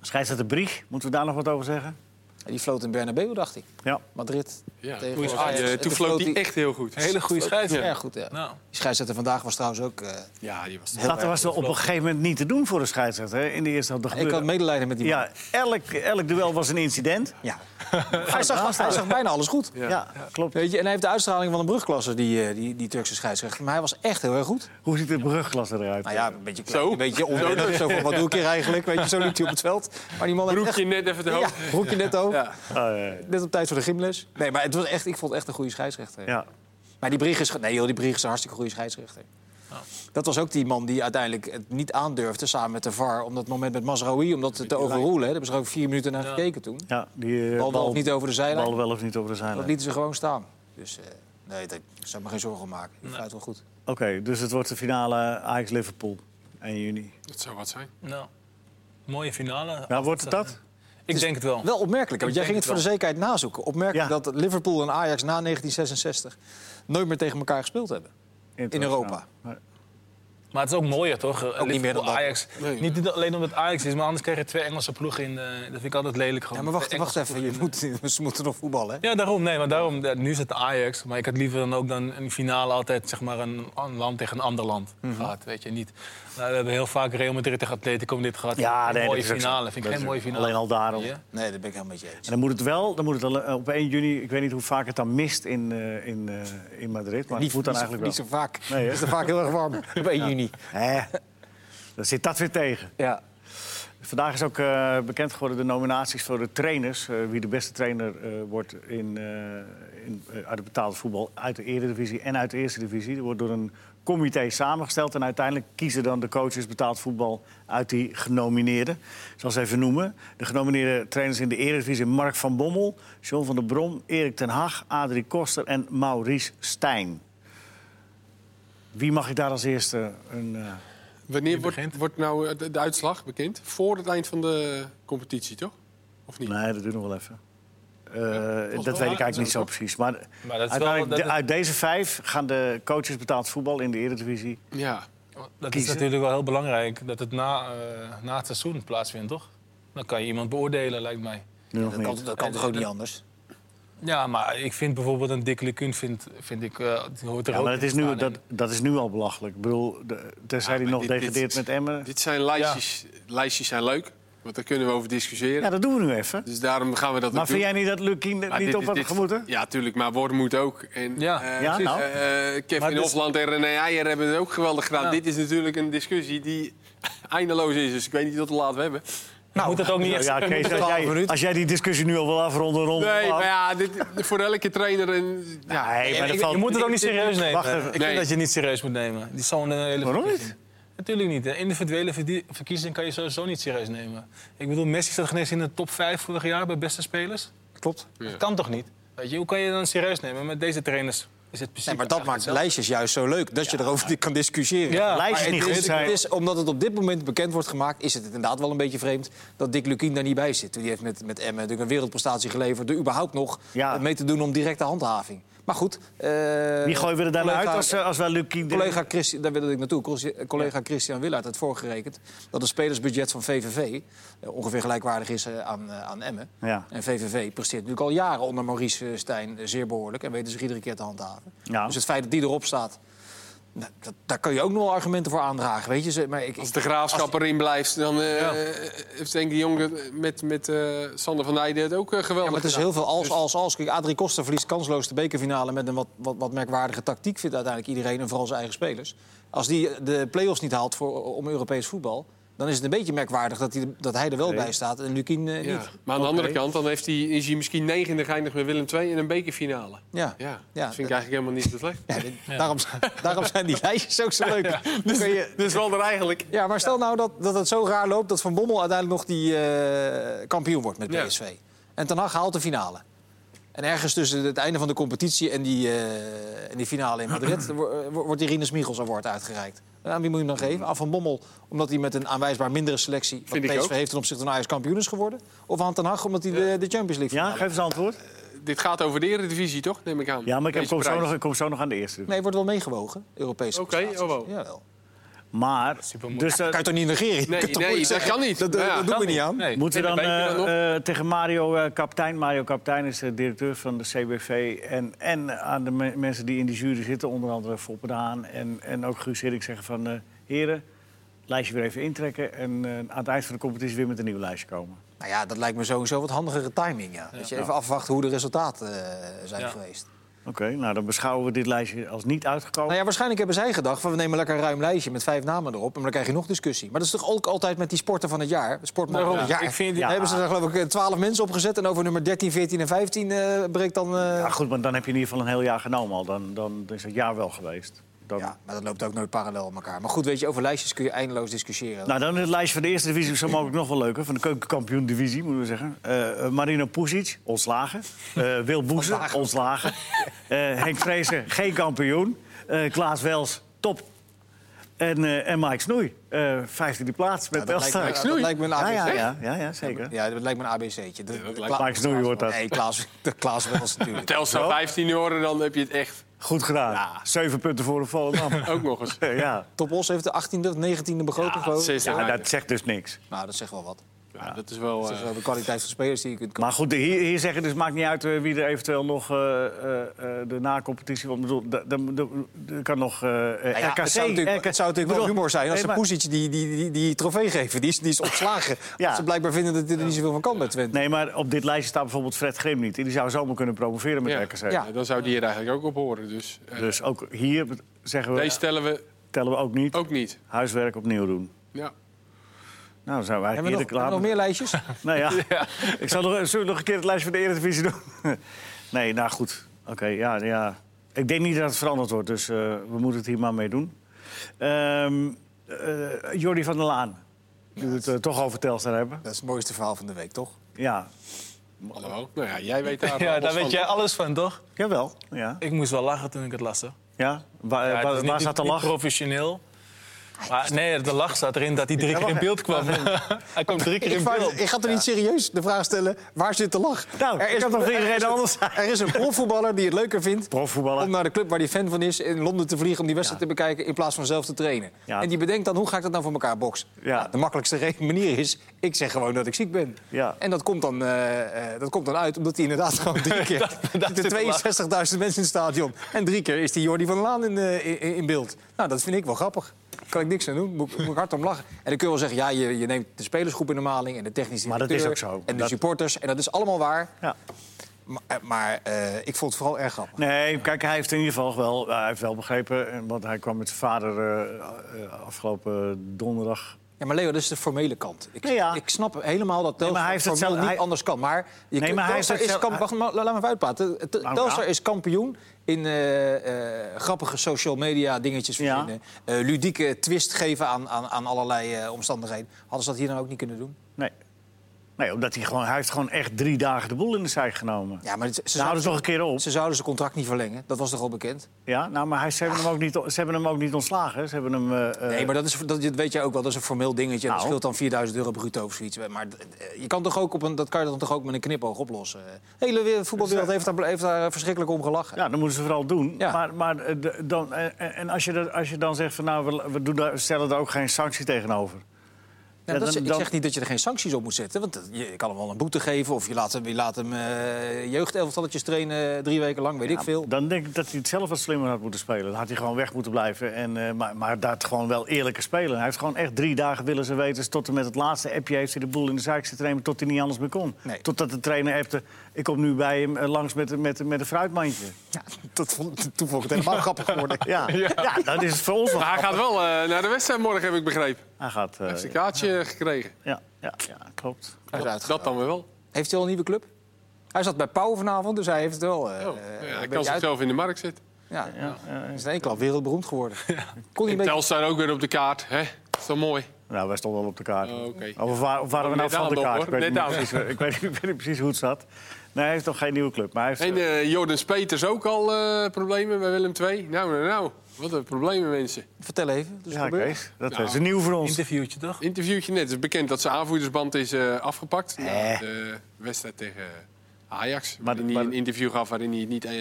Scheidsrechter Brieg, moeten we daar nog wat over zeggen?
En die floot in Bernabeu, dacht ik.
Ja.
Madrid.
Ja,
tegen
toen,
Ajax.
eh,
En
toen floot hij echt heel goed.
Hele goede scheidsrechter.
Erg goed, ja.
Nou.
Die scheidsrechter vandaag was trouwens ook... eh,
Ja, die was...
Dat was wel op een gegeven moment niet te doen voor de scheidsrechter hè, in de eerste helft. Er
ik had
gebeurde-
medelijden met die man.
Ja, elk, elk duel was een incident.
Ja. hij, zag, hij zag bijna alles goed.
Ja, klopt.
Weet je, en hij heeft de uitstraling van een brugklasse, die, eh, die, die Turkse scheidsrechter. Maar hij was echt heel erg goed.
Hoe ziet de brugglas eruit?
Nou ja, een beetje,
Zo?
een beetje onwennig. Zo van, wat doe ik hier eigenlijk? Weet je, zo liep hij op het veld. Maar die man had
Broekje net even te
echt...
hoog.
Ja, broekje net over.
Ja.
Oh, ja, ja.
Net op tijd voor de gymles. Nee, maar het was echt, ik vond het echt een goede scheidsrechter.
ja.
Maar die Brieg is... Nee joh, die Brieg is een hartstikke goede scheidsrechter.
Oh.
Dat was ook die man die uiteindelijk het niet aandurfde samen met de VAR... om dat moment met Mazraoui, om dat te overroelen. hè. Daar hebben ze er ook vier minuten naar gekeken toen.
Ja, die eh,
Bal wel of niet over de zijlijn.
bal wel of niet over de
Dat
zijlijn. Oké,
lieten ze gewoon staan. Dus eh, nee, daar zou ik me geen zorgen om maken. Die gaat wel goed.
dus het wordt de finale Ajax-Liverpool 1 juni.
Dat zou wat zijn.
Nou, mooie finale.
Nou, wordt het dat?
Ik denk het wel.
Wel opmerkelijk, want
Oh. Ik
jij
denk
ging het voor de
het
zekerheid nazoeken. Opmerkelijk
Ja.
dat Liverpool en Ajax na 1966 nooit meer tegen elkaar gespeeld hebben. In Europa.
Maar het is ook mooier, toch? Ook
niet meer dan dat.
Ajax.
Nee.
Niet, niet alleen omdat het Ajax is, maar anders krijg je twee Engelse ploegen in. eh, dat vind ik altijd lelijk gewoon.
Ja, maar wacht,
Twee
wacht
Engelse
even, je moet, ze moeten nog voetballen. Hè?
Ja, daarom. Nee, maar daarom, ja, nu is het Ajax. Maar ik had liever dan ook dan in de finale altijd zeg maar, een, een land tegen een ander land
Mhm.
gehad. Weet je, niet. Nou, we hebben heel vaak Real Madrid tegen Atletico dit gehad.
Ja,
Een
nee, dat
mooie
is ook zo.
finale. Vind ik
Dat
geen
is
mooie
ook-
finale.
alleen al daarom.
Ja.
Nee, daar ben ik helemaal met je eens.
En dan moet het wel, dan moet het al, eh, op 1 juni, ik weet niet hoe vaak het dan mist in, eh, in, eh, in Madrid, maar het moet dan
niet, zo-
eigenlijk wel.
niet zo vaak.
Nee, hè?
het is er vaak heel erg warm. Op 1 juni.
Hè? Dan zit dat weer tegen.
Ja.
Vandaag is ook eh, bekend geworden de nominaties voor de trainers. eh, wie de beste trainer eh, wordt in, eh, in, eh, uit het betaalde voetbal uit de Eredivisie en uit de Eerste Divisie. Dat wordt door een comité samengesteld. En uiteindelijk kiezen dan de coaches betaald voetbal uit die genomineerden. Ik zal ze even noemen. De genomineerde trainers in de Eredivisie Mark van Bommel, John van der Brom, Erik ten Hag, Adrie Koster en Maurice Stijn. Wie mag ik daar als eerste een... eh,
Wanneer wordt,
begint?
wordt nou eh, de, de uitslag bekend? Voor het eind van de competitie, toch? Of niet?
Nee, dat duurt nog wel even. Eh, dat
wel
weet ik eigenlijk
waar.
niet zo precies. Maar,
wel-
uiteindelijk,
dat-
de- uit deze vijf gaan de coaches betaald voetbal in de Eredivisie.
Ja.
Dat is
Kiezen.
natuurlijk wel heel belangrijk dat het na, eh, na het seizoen plaatsvindt, toch? Dan kan je iemand beoordelen, lijkt mij.
Nu nog
Dat kan,
niet.
dat kan toch ook niet anders?
Ja, maar ik vind bijvoorbeeld een Dick Lecun, vind, vind ik, eh, die hoort er
Ja,
ook
maar dat
in
is,
te
nu,
staan.
dat, dat is nu al belachelijk. Ik bedoel, de, tenzij
Ja,
hij nog
maar dit- dit-
degradeert met Emmen.
Dit zijn lijstjes. Lijstjes zijn leuk, want daar kunnen we over discussiëren.
Ja, dat doen we nu even.
Dus daarom gaan we dat
Maar
ook
vind
doen.
jij niet dat Lucky
Maar
niet
dit
op
is-
had
dit-
gemoeten?
Ja, tuurlijk, maar Word moet ook. En,
Ja.
eh,
Ja, nou.
eh, eh, Kevin
Maar
dus-
dit-
Hofland en René Eijer hebben het ook geweldig gedaan.
Ja.
Dit is natuurlijk een discussie die eindeloos is. Dus ik weet niet tot hoe laat we hebben.
moet dat ook niet
Nou
echt...
ja, Kees, als
12
jij,
minuten.
als jij die discussie nu al wil afronden rond.
Nee, maar ja, dit, voor elke trainer... Een, ja,
nee, maar dat
je
valt-
moet het ook niet serieus nemen.
Wacht even.
Ik
Nee.
vind dat je niet serieus moet nemen. Die is zo'n eh, hele
Waarom
verkiezing. Natuurlijk niet. Een individuele verdie- verkiezing kan je sowieso niet serieus nemen. Ik bedoel, Messi zat geen eens in de top 5 vorig jaar bij beste spelers.
Klopt.
Dat kan toch niet? Weet je, hoe kan je dan serieus nemen? Met deze trainers is het precies.
Nee, maar dat maakt de lijstjes juist zo leuk. Dat je erover kan discussiëren.
Ja.
Maar
Lijstjes
het
niet
is-
goed zijn.
Het is, omdat het op dit moment bekend wordt gemaakt... is het inderdaad wel een beetje vreemd dat Dick Lukien daar niet bij zit. Die heeft met, met Emmen natuurlijk een wereldprestatie geleverd... door überhaupt nog
Ja.
eh, mee te doen om directe handhaving. Maar goed... eh,
Wie gooien we er dan
collega-
uit als, eh, als wij Lucky...
Collega Christi, daar wilde ik naartoe. Colsi- Collega Christian Willaert had voorgerekend dat het spelersbudget van VVV eh, ongeveer gelijkwaardig is eh, aan, eh, aan Emmen.
Ja.
En VVV presteert natuurlijk al jaren onder Maurice eh, Stijn eh, zeer behoorlijk en weten zich iedere keer te handhaven.
Ja.
Dus het feit dat die erop staat, nou, dat, daar kan je ook nog wel argumenten voor aandragen. Weet je? Ze- Maar ik,
Als
ik,
de graafschap erin blijft, dan eh, heeft denk ik de jongen met, met eh, Sander van Nijden het ook eh,
ja,
geweldig
maar het is
gedaan.
heel veel als, als, als. Kijk, Adrie Koster verliest kansloos de bekerfinale met een wat, wat, wat merkwaardige tactiek, vindt uiteindelijk iedereen en vooral zijn eigen spelers. Als die de play-offs niet haalt voor, om Europees voetbal, dan is het een beetje merkwaardig dat, die, dat hij er wel bij staat en Lukien eh,
Ja.
niet.
Maar aan de andere kant dan heeft hij, is hij misschien negende geëindigd met Willem II in een bekerfinale.
Ja.
Ja,
Ja,
dat vind ik eigenlijk helemaal niet zo slecht.
Ja, dit- Daarom, daarom zijn die lijstjes ook zo leuk. Dan kun je-
Dus wel er eigenlijk.
Ja, maar stel nou dat, dat het zo raar loopt dat Van Bommel uiteindelijk nog die eh, kampioen wordt met
Ja.
PSV. En Ten Hag haalt de finale. En ergens tussen het einde van de competitie en die, eh, en die finale in Madrid... wo- eh, wo- wordt die Rinus Michels Award uitgereikt. En aan wie moet je hem dan geven? Aan Van Bommel, omdat hij met een aanwijsbaar mindere selectie... wat
Mm. Vind ik
PSV
ook.
heeft ten opzichte van Ajax kampioen is geworden? Of aan Ten Hag, omdat hij de, de Champions League
Ja,
finale-
geef eens antwoord.
Dit gaat over de Eredivisie, toch? Neem ik aan.
Ja, maar ik heb-
Deze
kom zo,
prijs.
nog, ik kom zo nog aan de eerste.
Nee, wordt wel meegewogen, Europese
Oké,
prestaties.
oh wow.
Jawel.
Maar,
Supermoeilijk.
dus eh,
Kan je toch niet negeren? Je
Nee,
kunt toch
nee,
moeilijk
dat
zeggen,
kan niet.
Dat, dat-
Ja.
dat doen we niet aan.
Nee.
moeten we dan
Nee, maar weet je
eh,
dat nog?
eh, tegen Mario eh, Kaptein... Mario Kaptein is de directeur van de CBV. En, en aan de me- mensen die in die jury zitten, onder andere Foppe de Haan... en, en ook Guus Hiddink zeggen van... eh, heren, lijstje weer even intrekken... en eh, aan het eind van de competitie weer met een nieuw lijstje komen.
Nou ja, dat lijkt me sowieso wat handigere timing. Ja. Dat je even afwacht hoe de resultaten eh, zijn
Ja.
geweest.
Oké, nou dan beschouwen we dit lijstje als niet uitgekomen.
Nou ja, waarschijnlijk hebben zij gedacht van we nemen lekker een ruim lijstje met vijf namen erop. En dan krijg je nog discussie. Maar dat is toch ook altijd met die sporten van het jaar. Sportman van
Daarom,
het jaar.
ik vind-
Daar
ja.
hebben ze er geloof ik eh, twaalf mensen opgezet. En over nummer 13, 14 en 15 eh, breekt dan... eh,
Ja, goed, maar dan heb je in ieder geval een heel jaar genomen al. Dan, dan is het jaar wel geweest. Dan,
Ja, maar dat loopt ook nooit parallel aan elkaar. Maar goed, weet je, over lijstjes kun je eindeloos discussiëren.
Nou, dan is het lijstje van de eerste divisie zo mogelijk nog wel leuker. Van de keukenkampioen divisie, moeten we zeggen. Eh, Marino Pusic, ontslagen. Eh Wil Boeze,
Ontslagen.
ontslagen. Eh, Henk Vrezen, geen kampioen. Eh, Klaas Wels, top. En, eh, en Mike Snoei, eh, vijftiende plaats met
dat, lijkt
Telstar.
me, dat lijkt me een ABC.
ja, ja, ja, ja, ja, zeker.
Ja, dat lijkt me een ABC'tje. De, de Kla-
Mike Snoei wordt dat.
Nee, Klaas, de Klaas Wels natuurlijk.
Telstra 15 horen, dan heb je het echt
Goed gedaan. Zeven punten voor de Volendam. Eh,
ook nog eens.
ja.
Top Os heeft de 18e of 19e begroting, geloof ik.
Zes en
ja,
negen.
dat zegt dus niks.
Nou, dat zegt wel wat.
Ja, dat is wel...
Dat is
eh,
wel de kwaliteit van spelers die je kunt kopen.
Maar goed, hier, hier zeggen dus maakt niet uit eh, wie er eventueel nog eh, eh, eh, de na-competitie... Want ik bedoel, da- da- da- er kan nog eh,
Nou ja,
RKC...
het zou natuurlijk,
RKC
het zou natuurlijk
bedoel,
wel humor zijn als
nee,
ze
maar-
Poesic die, die, die, die trofee geven. Die is, die is ontslagen.
Ja.
Als ze blijkbaar vinden dat hij er niet zoveel van kan bij Twente.
Nee, maar op dit lijstje staat bijvoorbeeld Fred Grim niet. Die zou zomaar kunnen promoveren met
ja.
RKC.
Ja, dan zou die er eigenlijk ook op horen. Dus eh,
Dus ook hier zeggen we,
deze Oh. stellen we
tellen we ook niet.
ook niet.
Huiswerk opnieuw doen.
Ja.
Nou, dan zijn we
Hebben
eigenlijk
we
eerder
nog, hebben
klaar.
we nog
met-
meer lijstjes?
Nou ja, ik zal nog, zullen we nog een keer het lijstje van de Eredivisie doen? nee, nou goed. Oké, ja, ja. Ik denk niet dat het veranderd wordt, dus eh, we moeten het hier maar mee doen. Ehm eh, Jordi van der Laan, nu we het eh, toch over Telstar hebben.
Dat is het mooiste verhaal van de week, toch?
Ja,
Hallo. Nou ja, jij weet daar
Ja,
alles
daar
van.
weet jij alles van, toch?
jawel. Ja,
Ik moest wel lachen toen ik het las, hoor.
ja. Waar,
Ja, het
waar,
is
waar
niet-
zat de
niet
lach?
professioneel. Maar nee, de lach staat erin dat hij drie
Ja,
keer in
wacht,
beeld kwam. hij kwam drie keer
Ik,
in
vraag-
beeld.
ik ga toch niet serieus de vraag stellen, waar zit de lach?
Nou,
er is
kan toch
er
iedereen
is-
anders zijn?
Er is een profvoetballer die het leuker vindt
Profvoetballer.
om eh, naar de club waar hij fan van is in Londen te vliegen om die wedstrijd te bekijken in plaats van zelf te trainen.
Ja.
En die bedenkt dan, hoe ga ik dat nou voor elkaar boksen?
Ja.
Nou, de makkelijkste re- manier is, ik zeg gewoon dat ik ziek ben.
Ja.
En dat komt, dan, eh, eh, dat komt dan uit omdat hij inderdaad gewoon drie keer...
Dat- dat
er
is
zitten 62.000 mensen in het stadion en drie keer is die Jordi van der Laan in, eh, in, in beeld. Nou, dat vind ik wel grappig. Kan ik niks aan doen, moet, ik- moet ik hard om lachen. En dan kun je wel zeggen, ja, je, je neemt de spelersgroep in de maling... en de technische
Maar dat
directeur
is ook zo.
en de
Dat-
supporters. En dat is allemaal waar.
Ja.
Maar, eh, maar eh, ik vond het vooral erg grappig.
Nee, kijk, hij heeft in ieder geval wel, hij heeft wel begrepen... eh, want hij kwam met zijn vader eh, eh, afgelopen donderdag
Ja, maar Leo, dat is de formele kant. Ik,
Nee, ja.
ik snap helemaal dat Telstar
maar hij heeft het
formeel
zelf-
niet
hij-
anders kan. Maar, je
maar
kunt-
hij heeft
Telstar
het
is
zelf-
kamp- wacht, maar la- laat me even uitpraten. T-
maar
Telstar
aan.
is kampioen in eh, eh, grappige social media dingetjes
Ja.
verzinnen. Eh, ludieke twist geven aan, aan, aan allerlei eh, omstandigheden. Hadden ze dat hier dan ook niet kunnen doen?
Nee. Nee, omdat hij gewoon... Hij heeft gewoon echt drie dagen de boel in de zijk genomen.
Ja, maar ze, ze,
Ze houden
zouden,
ze nog een keer op.
ze zouden zijn contract niet verlengen. Dat was toch al bekend?
Ja, nou, maar hij, ze, hebben hem ook niet, ze hebben hem ook niet ontslagen. hè. Ze hebben hem... eh, eh,
Nee, maar dat, is, dat dat weet jij ook wel. Dat is een formeel dingetje. Dat
Nou.
scheelt dan 4000 euro bruto of zoiets. Maar d- eh, je kan toch ook op een, dat kan je dan toch ook met een knipoog oplossen. De hele we- voetbalwereld heeft daar, heeft daar verschrikkelijk om gelachen.
Ja, dat moeten ze vooral doen.
Ja.
Maar, maar eh, de- dan, eh, en- en als je, dat, als je dan zegt van nou, we, we doen daar, stellen daar ook geen sanctie tegenover.
Ja, dat is-
dan-
ik
dan-
zeg niet dat je er geen sancties op moet zetten. Want dat- je kan hem wel een boete geven. Of je laat hem, je laat hem eh, jeugdelftalletjes trainen eh, drie weken lang. Weet ik veel.
Dan denk ik dat hij het zelf wat slimmer had moeten spelen. Dan had hij gewoon weg moeten blijven. En, eh, maar, maar dat gewoon wel eerlijker spelen. Hij heeft gewoon echt drie dagen willen ze weten. Tot en met het laatste appje heeft hij de boel in de zaak zitten nemen. Tot hij niet anders meer kon.
Nee.
Totdat de trainer appte. Ik kom nu bij hem eh, langs met, met, met een fruitmandje.
Ja, dat vond, toen vond ik het helemaal grappig geworden.
Ja, ja. dat is het voor ons wel.
Maar hij gaat wel eh, naar de wedstrijd morgen, heb ik begrepen. Hij
Hij gaat. eh,
heeft een kaartje gekregen.
ja, ja, ja, klopt.
Hij is uitgegaan.
Dat dan weer wel.
Heeft hij al een nieuwe club? Hij zat bij Pauw vanavond, dus hij heeft het wel. eh,
Oh,
eh, een
ja, hij kan
beetje uit-
zichzelf in de markt zetten.
Ja, hij is in één klap wereldberoemd geworden. Kon hij een
En
beetje
Telstar ook weer op de kaart. Hè? Is toch mooi?
Nou, wij stonden al op de kaart.
Oh, oké.
Of waar, of waren we
Net
nou van de
aan,
kaart?
hoor.
Ik weet, niet
Net aan.
precies, ik, weet, ik weet niet precies hoe het zat. Nee, hij heeft nog geen nieuwe club. Maar hij heeft,
En eh Jordan Peters ook al eh, problemen bij Willem II. Nou, nou, nou. Wat een problemen, mensen.
Vertel even. Dus
ja,
gebeurd.
Kees, dat
Nou.
is nieuw voor ons.
Interviewtje, toch?
Interviewtje net. Het is bekend dat zijn aanvoerdersband is eh, afgepakt.
Eh.
Na de wedstrijd tegen Ajax.
Maar-
waarin hij
maar-
een interview gaf waarin hij het niet, eh,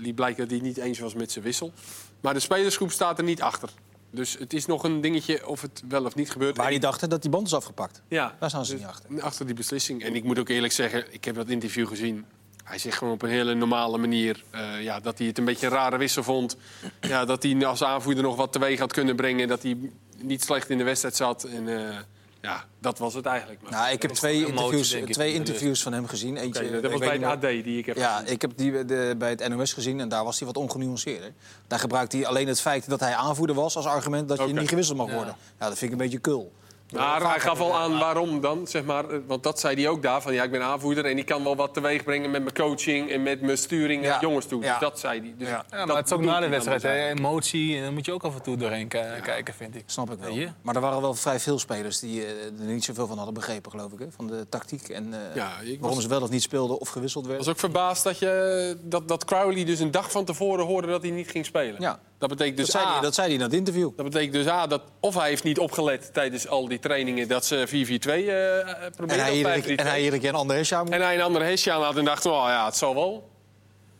liet blijken dat hij het niet eens was met zijn wissel. Maar de spelersgroep staat er niet achter. Dus het is nog een dingetje of het wel of niet gebeurt.
Waar die dachten dat die band is afgepakt.
ja,
Daar staan ze niet achter.
Dus achter die beslissing. En ik moet ook eerlijk zeggen, ik heb dat interview gezien. Hij zegt gewoon op een hele normale manier eh, ja, dat hij het een beetje een rare wissel vond. Ja, dat hij als aanvoerder nog wat teweeg had kunnen brengen. Dat hij niet slecht in de wedstrijd zat. En eh, ja, dat was het eigenlijk. Maar,
Nou, ik heb twee
emotie,
interviews,
denk ik, in
twee
de-
interviews van hem gezien. Eentje,
Oké,
ik
dat was
weet
bij het
niet
AD die ik heb.
Ja, ik heb die bij de- bij het NOS gezien en daar was hij wat ongenuanceerder. Daar gebruikte hij alleen het feit dat hij aanvoerder was als argument dat je
Oké.
niet gewisseld mag worden. Ja, dat vind ik een beetje kul.
Maar hij gaf al aan waarom dan, zeg maar. eh, Want dat zei hij ook daar, van ja, ik ben aanvoerder... en ik kan wel wat teweeg brengen met mijn coaching en met mijn sturing naar
Ja.
jongens toe.
Ja.
Dat zei hij. Dus
Ja, maar het is ook na de wedstrijd, hè. emotie. En dan moet je ook af en toe doorheen ki- kijken, vind ik.
Snap ik wel.
Hier?
Maar er waren wel vrij veel spelers die eh, er niet zoveel van hadden begrepen, geloof ik. Hè? Van de tactiek en eh,
Ja, ik was-
waarom ze wel of niet speelden of gewisseld
Ik
werden.
was ook verbaasd dat, je, dat, dat Crowley dus een dag van tevoren hoorde dat hij niet ging spelen.
Ja.
Dat betekent dus
dat, zei
A,
hij, dat zei hij in dat interview.
dat betekent dus A, dat of hij heeft niet opgelet tijdens al die trainingen dat ze 4-4-2 eh eh,
En
proberen.
hij,
of
iedere,
5-3-2.
en hij iedere keer een ander hesje aan moet-
En hij een andere hesje aan had en dacht, oh ja, het zal wel.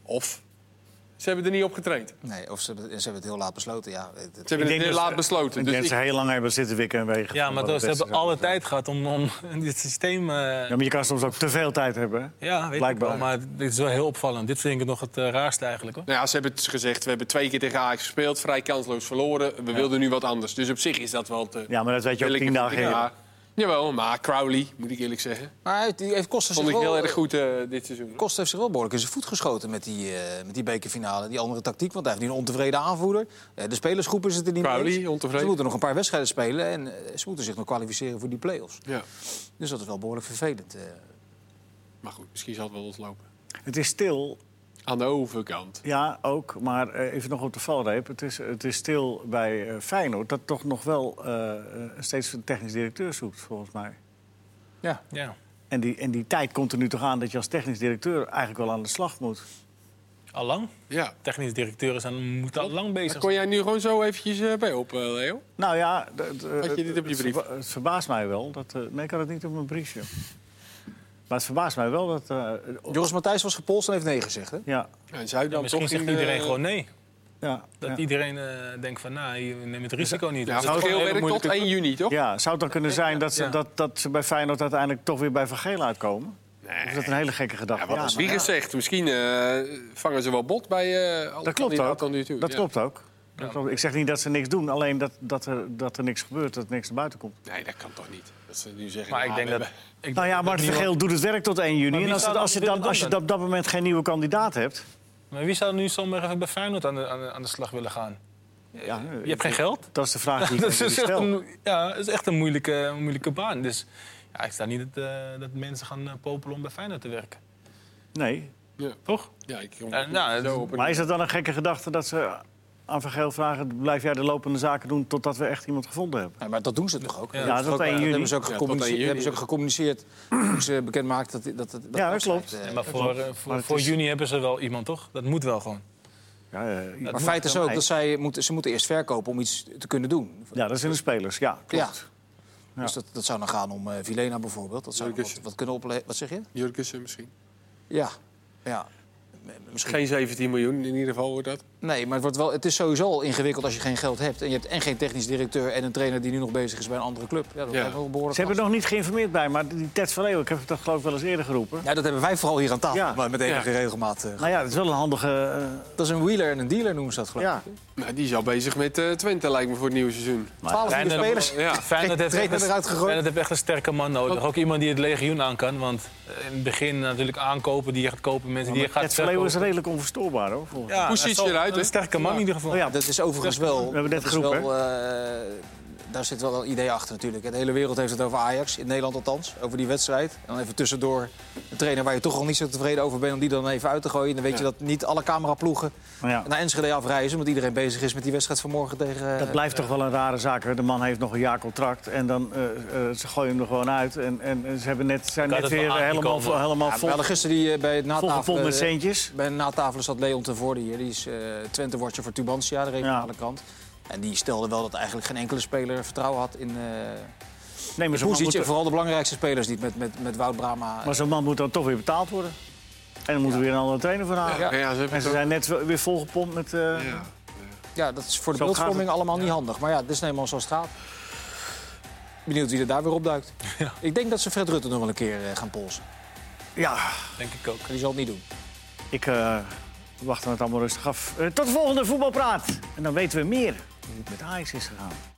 Of ze hebben er niet op getraind. Ze
Nee, of ze, hebben- ze hebben het heel laat besloten. Ja, het- het-
hebben
Ik
het
denk
heel
dat
laat
ze-
besloten.
Ik
Dus
denk dat ze
ik-
heel lang hebben zitten wikken en wegen.
Ja, maar
Wat
toch, ze
best
hebben
is.
alle tijd gehad om, om dit systeem... eh,
Ja, maar je kan soms ook te veel tijd hebben. hè?
ja, weet ik
blijkbaar.
wel. Maar dit is wel heel opvallend. Dit vind ik nog het eh, raarste eigenlijk, hoor.
nou ja, ze hebben het gezegd, we hebben twee keer tegen Ajax gespeeld, vrij kansloos verloren. We wilden nu wat anders. Dus op zich is dat wel te...
Ja, maar dat weet je ook
billijke
tien dagen
kritiek.
eerder.
Maar- Jawel, maar Crowley, moet ik eerlijk zeggen.
maar hij heeft- die heeft Koster zich
Vond ik
wel,
heel erg goed eh, dit seizoen.
Koster heeft zich wel behoorlijk in zijn voet geschoten met die, eh, met die bekerfinale. Die andere tactiek, want hij heeft nu een ontevreden aanvoerder. Eh, de spelersgroepen zitten niet
Crowley,
mee eens.
ontevreden.
Ze moeten nog een paar wedstrijden spelen en eh, ze moeten zich nog kwalificeren voor die play-offs.
Ja.
Dus dat is wel behoorlijk vervelend. eh.
Maar goed, misschien zal het wel ontlopen.
Het is stil,
Aan de overkant.
ja, ook. Maar eh, even nog op de valreep. Het is, het is stil bij eh, Feyenoord. Dat toch nog wel eh, eh, steeds een technisch directeur zoekt, volgens mij.
Ja.
En die, en die tijd komt er nu toch aan dat je als technisch directeur eigenlijk wel aan de slag moet.
Allang?
Ja.
Technisch directeur is aan, moet al lang bezig
Kon jij nu gewoon zo eventjes eh, bij op, eh, Leo?
Nou ja, d- d-
Had je dit op je
het
brief?
verba- Het verbaast mij wel. Dat, eh, nee, ik had het niet op mijn briefje. Maar het verbaast mij wel dat... eh, op-
Joris Matthijs was gepolst en heeft nee gezegd. Hè?
ja,
Ja, en Zuidam
Ja, misschien
toch
zegt
in,
iedereen
eh,
gewoon nee.
ja,
Dat
ja.
iedereen eh, denkt van, nou, je neemt het risico niet.
Ja,
Dat is
het
toch
geel
een hele
werkt tot
moeilijke
1 juni, toch?
Ja, zou het dan kunnen zijn dat ze,
Ja.
dat, dat ze bij Feyenoord uiteindelijk toch weer bij Van Geel uitkomen? Of is dat een hele gekke gedachte? Ja,
Wie gezegd, misschien eh, vangen ze wel bot bij eh alle
dat klopt
kandidaten
ook.
tot nu toe.
Dat
Ja.
klopt ook. Dat klopt. Ik zeg niet dat ze niks doen, alleen dat, dat, er, dat er niks gebeurt, dat er niks naar buiten komt.
Nee, dat kan toch niet. Dat ze nu zeggen,
Maar
ja,
ik denk
we
dat...
hebben-
ik-
Nou ja,
dat
Mart
niemand-
Vergeel doet het werk tot 1 juni.
wie
En als,
zou
het-
dat
als, je
willen
dan,
doen
als je
dan?
op dat moment geen nieuwe kandidaat hebt...
Maar wie zou nu zomaar even bij Feyenoord aan de, aan, de- aan de slag willen gaan?
Ja,
Je hebt geen geld?
Dat is de vraag die ik
Dat
aan
is,
jullie stel.
echt een, ja, dat is echt een moeilijke, moeilijke baan. Dus ja, ik sta niet dat, eh, dat mensen gaan eh, popelen om bij Feyenoord te werken.
Nee.
Toch?
Ja, ik kom
Eh, nou,
zo
het-
op een-
Maar is dat dan een gekke gedachte dat ze aan Van Geel vragen... blijf jij de lopende zaken doen totdat we echt iemand gevonden hebben?
Ja, maar dat doen ze toch ook?
Ja,
is
tot
ook- eh,
1 juni.
hebben ze ook
Ja, tot
gecommuniceerd.
1 juni.
hebben ze ook gecommuniceerd toen ze bekend maakten dat... dat, dat, dat
Ja, dat
afscheid,
klopt.
eh,
maar voor, eh, voor,
Maar het
voor
is-
juni hebben ze wel iemand, toch? Dat moet wel gewoon.
Ja, eh,
Maar feit is
dan
ook
hij-
dat zij moeten, ze moeten eerst verkopen om iets te kunnen doen.
Ja, dat zijn de spelers. Ja, klopt.
Ja. Dus dat, dat zou dan gaan om eh Vilena bijvoorbeeld. Dat zou nog wat,
Jurgensen.
wat kunnen opleveren. Wat zeg je?
eh,
Jurgensen misschien.
Ja. ja. M- Misschien.
Geen 17 miljoen in ieder geval wordt dat.
Nee, maar het, wordt wel, het is sowieso al ingewikkeld als je geen geld hebt. En je hebt en geen technisch directeur en een trainer die nu nog bezig is bij een andere club. Ja, dat
Ja.
lijkt me wel behoorlijk
Ze hebben er nog niet geïnformeerd bij, maar die Ted van Leeuwen, ik heb dat geloof ik wel eens eerder geroepen.
lastig. Ja, dat hebben wij vooral hier aan tafel.
Ja.
Maar met enige regelmaat. eh.
Nou ja, dat is wel een handige.
dat is een wheeler en een dealer noemen ze dat
eh,
geloof ik.
ja.
Nou, die is al bezig met eh, Twente, lijkt me, voor het nieuwe seizoen.
Twaalf nieuwe
Feyenoord-
spelers.
Ja.
Feyenoord heeft,
trainer
echt een-
eruit gegooid.
Feyenoord heeft echt een sterke man nodig. Ook iemand die het legioen aan kan. Want eh, in het begin natuurlijk aankopen, die je gaat kopen, mensen die je gaat
Ted van Leeuwen is
verkopen.
redelijk onverstoorbaar hoor. volgens mij.
Ja,
Hoe
dat is
ziet je eruit,
wel
hè?
Een sterke man in ieder geval.
Oh ja,
Dat is overigens wel.
hebben net
dat is
geroepen,
wel, eh, daar zit wel een idee achter natuurlijk. De hele wereld heeft het over Ajax, in Nederland althans, over die wedstrijd. En dan even tussendoor een trainer waar je toch al niet zo tevreden over bent om die dan even uit te gooien. En dan weet je dat niet alle cameraploegen
maar ja,
naar Enschede afreizen, omdat iedereen bezig is met die wedstrijd van morgen tegen. eh,
dat blijft toch wel een rare zaak. Hè? De man heeft nog een jaar contract en dan eh, eh, ze gooien hem er gewoon uit. En, en en ze hebben net, zijn
Kan
net
het wel
weer
aan
helemaal,
komen?
vol, helemaal
Ja, we
vol,
hadden gisteren die eh, bij het
volgepompt
natafelen.
met centjes.
Bij de natafelen zat Leon ten Voorde hier. Die is eh Twente watcher voor Tubantia, de regionale kant. En die stelde wel dat eigenlijk geen enkele speler vertrouwen had in. eh,
Nee, maar zo'n man,
Hoe ziet je
moet,
vooral de belangrijkste spelers niet met, met, met Wout Brama?
maar zo'n man moet dan toch weer betaald worden. En dan moeten we weer een andere trainer voor halen.
Ja, ze hebben
En ze
toch-
zijn net weer volgepompt met. eh,
Ja.
Ja, dat is voor de
Zo gaat
beeldvorming
het.
allemaal niet handig. Maar ja, dit is nou eenmaal zoals het gaat. Benieuwd wie er daar weer opduikt. Ik denk dat ze Fred Rutte nog wel een keer eh, gaan polsen.
Ja,
Denk ik ook.
Maar die zal het niet doen.
ik eh wacht het allemaal rustig af. Eh, tot de volgende Voetbalpraat. En dan weten we meer hoe het met Ajax is gegaan.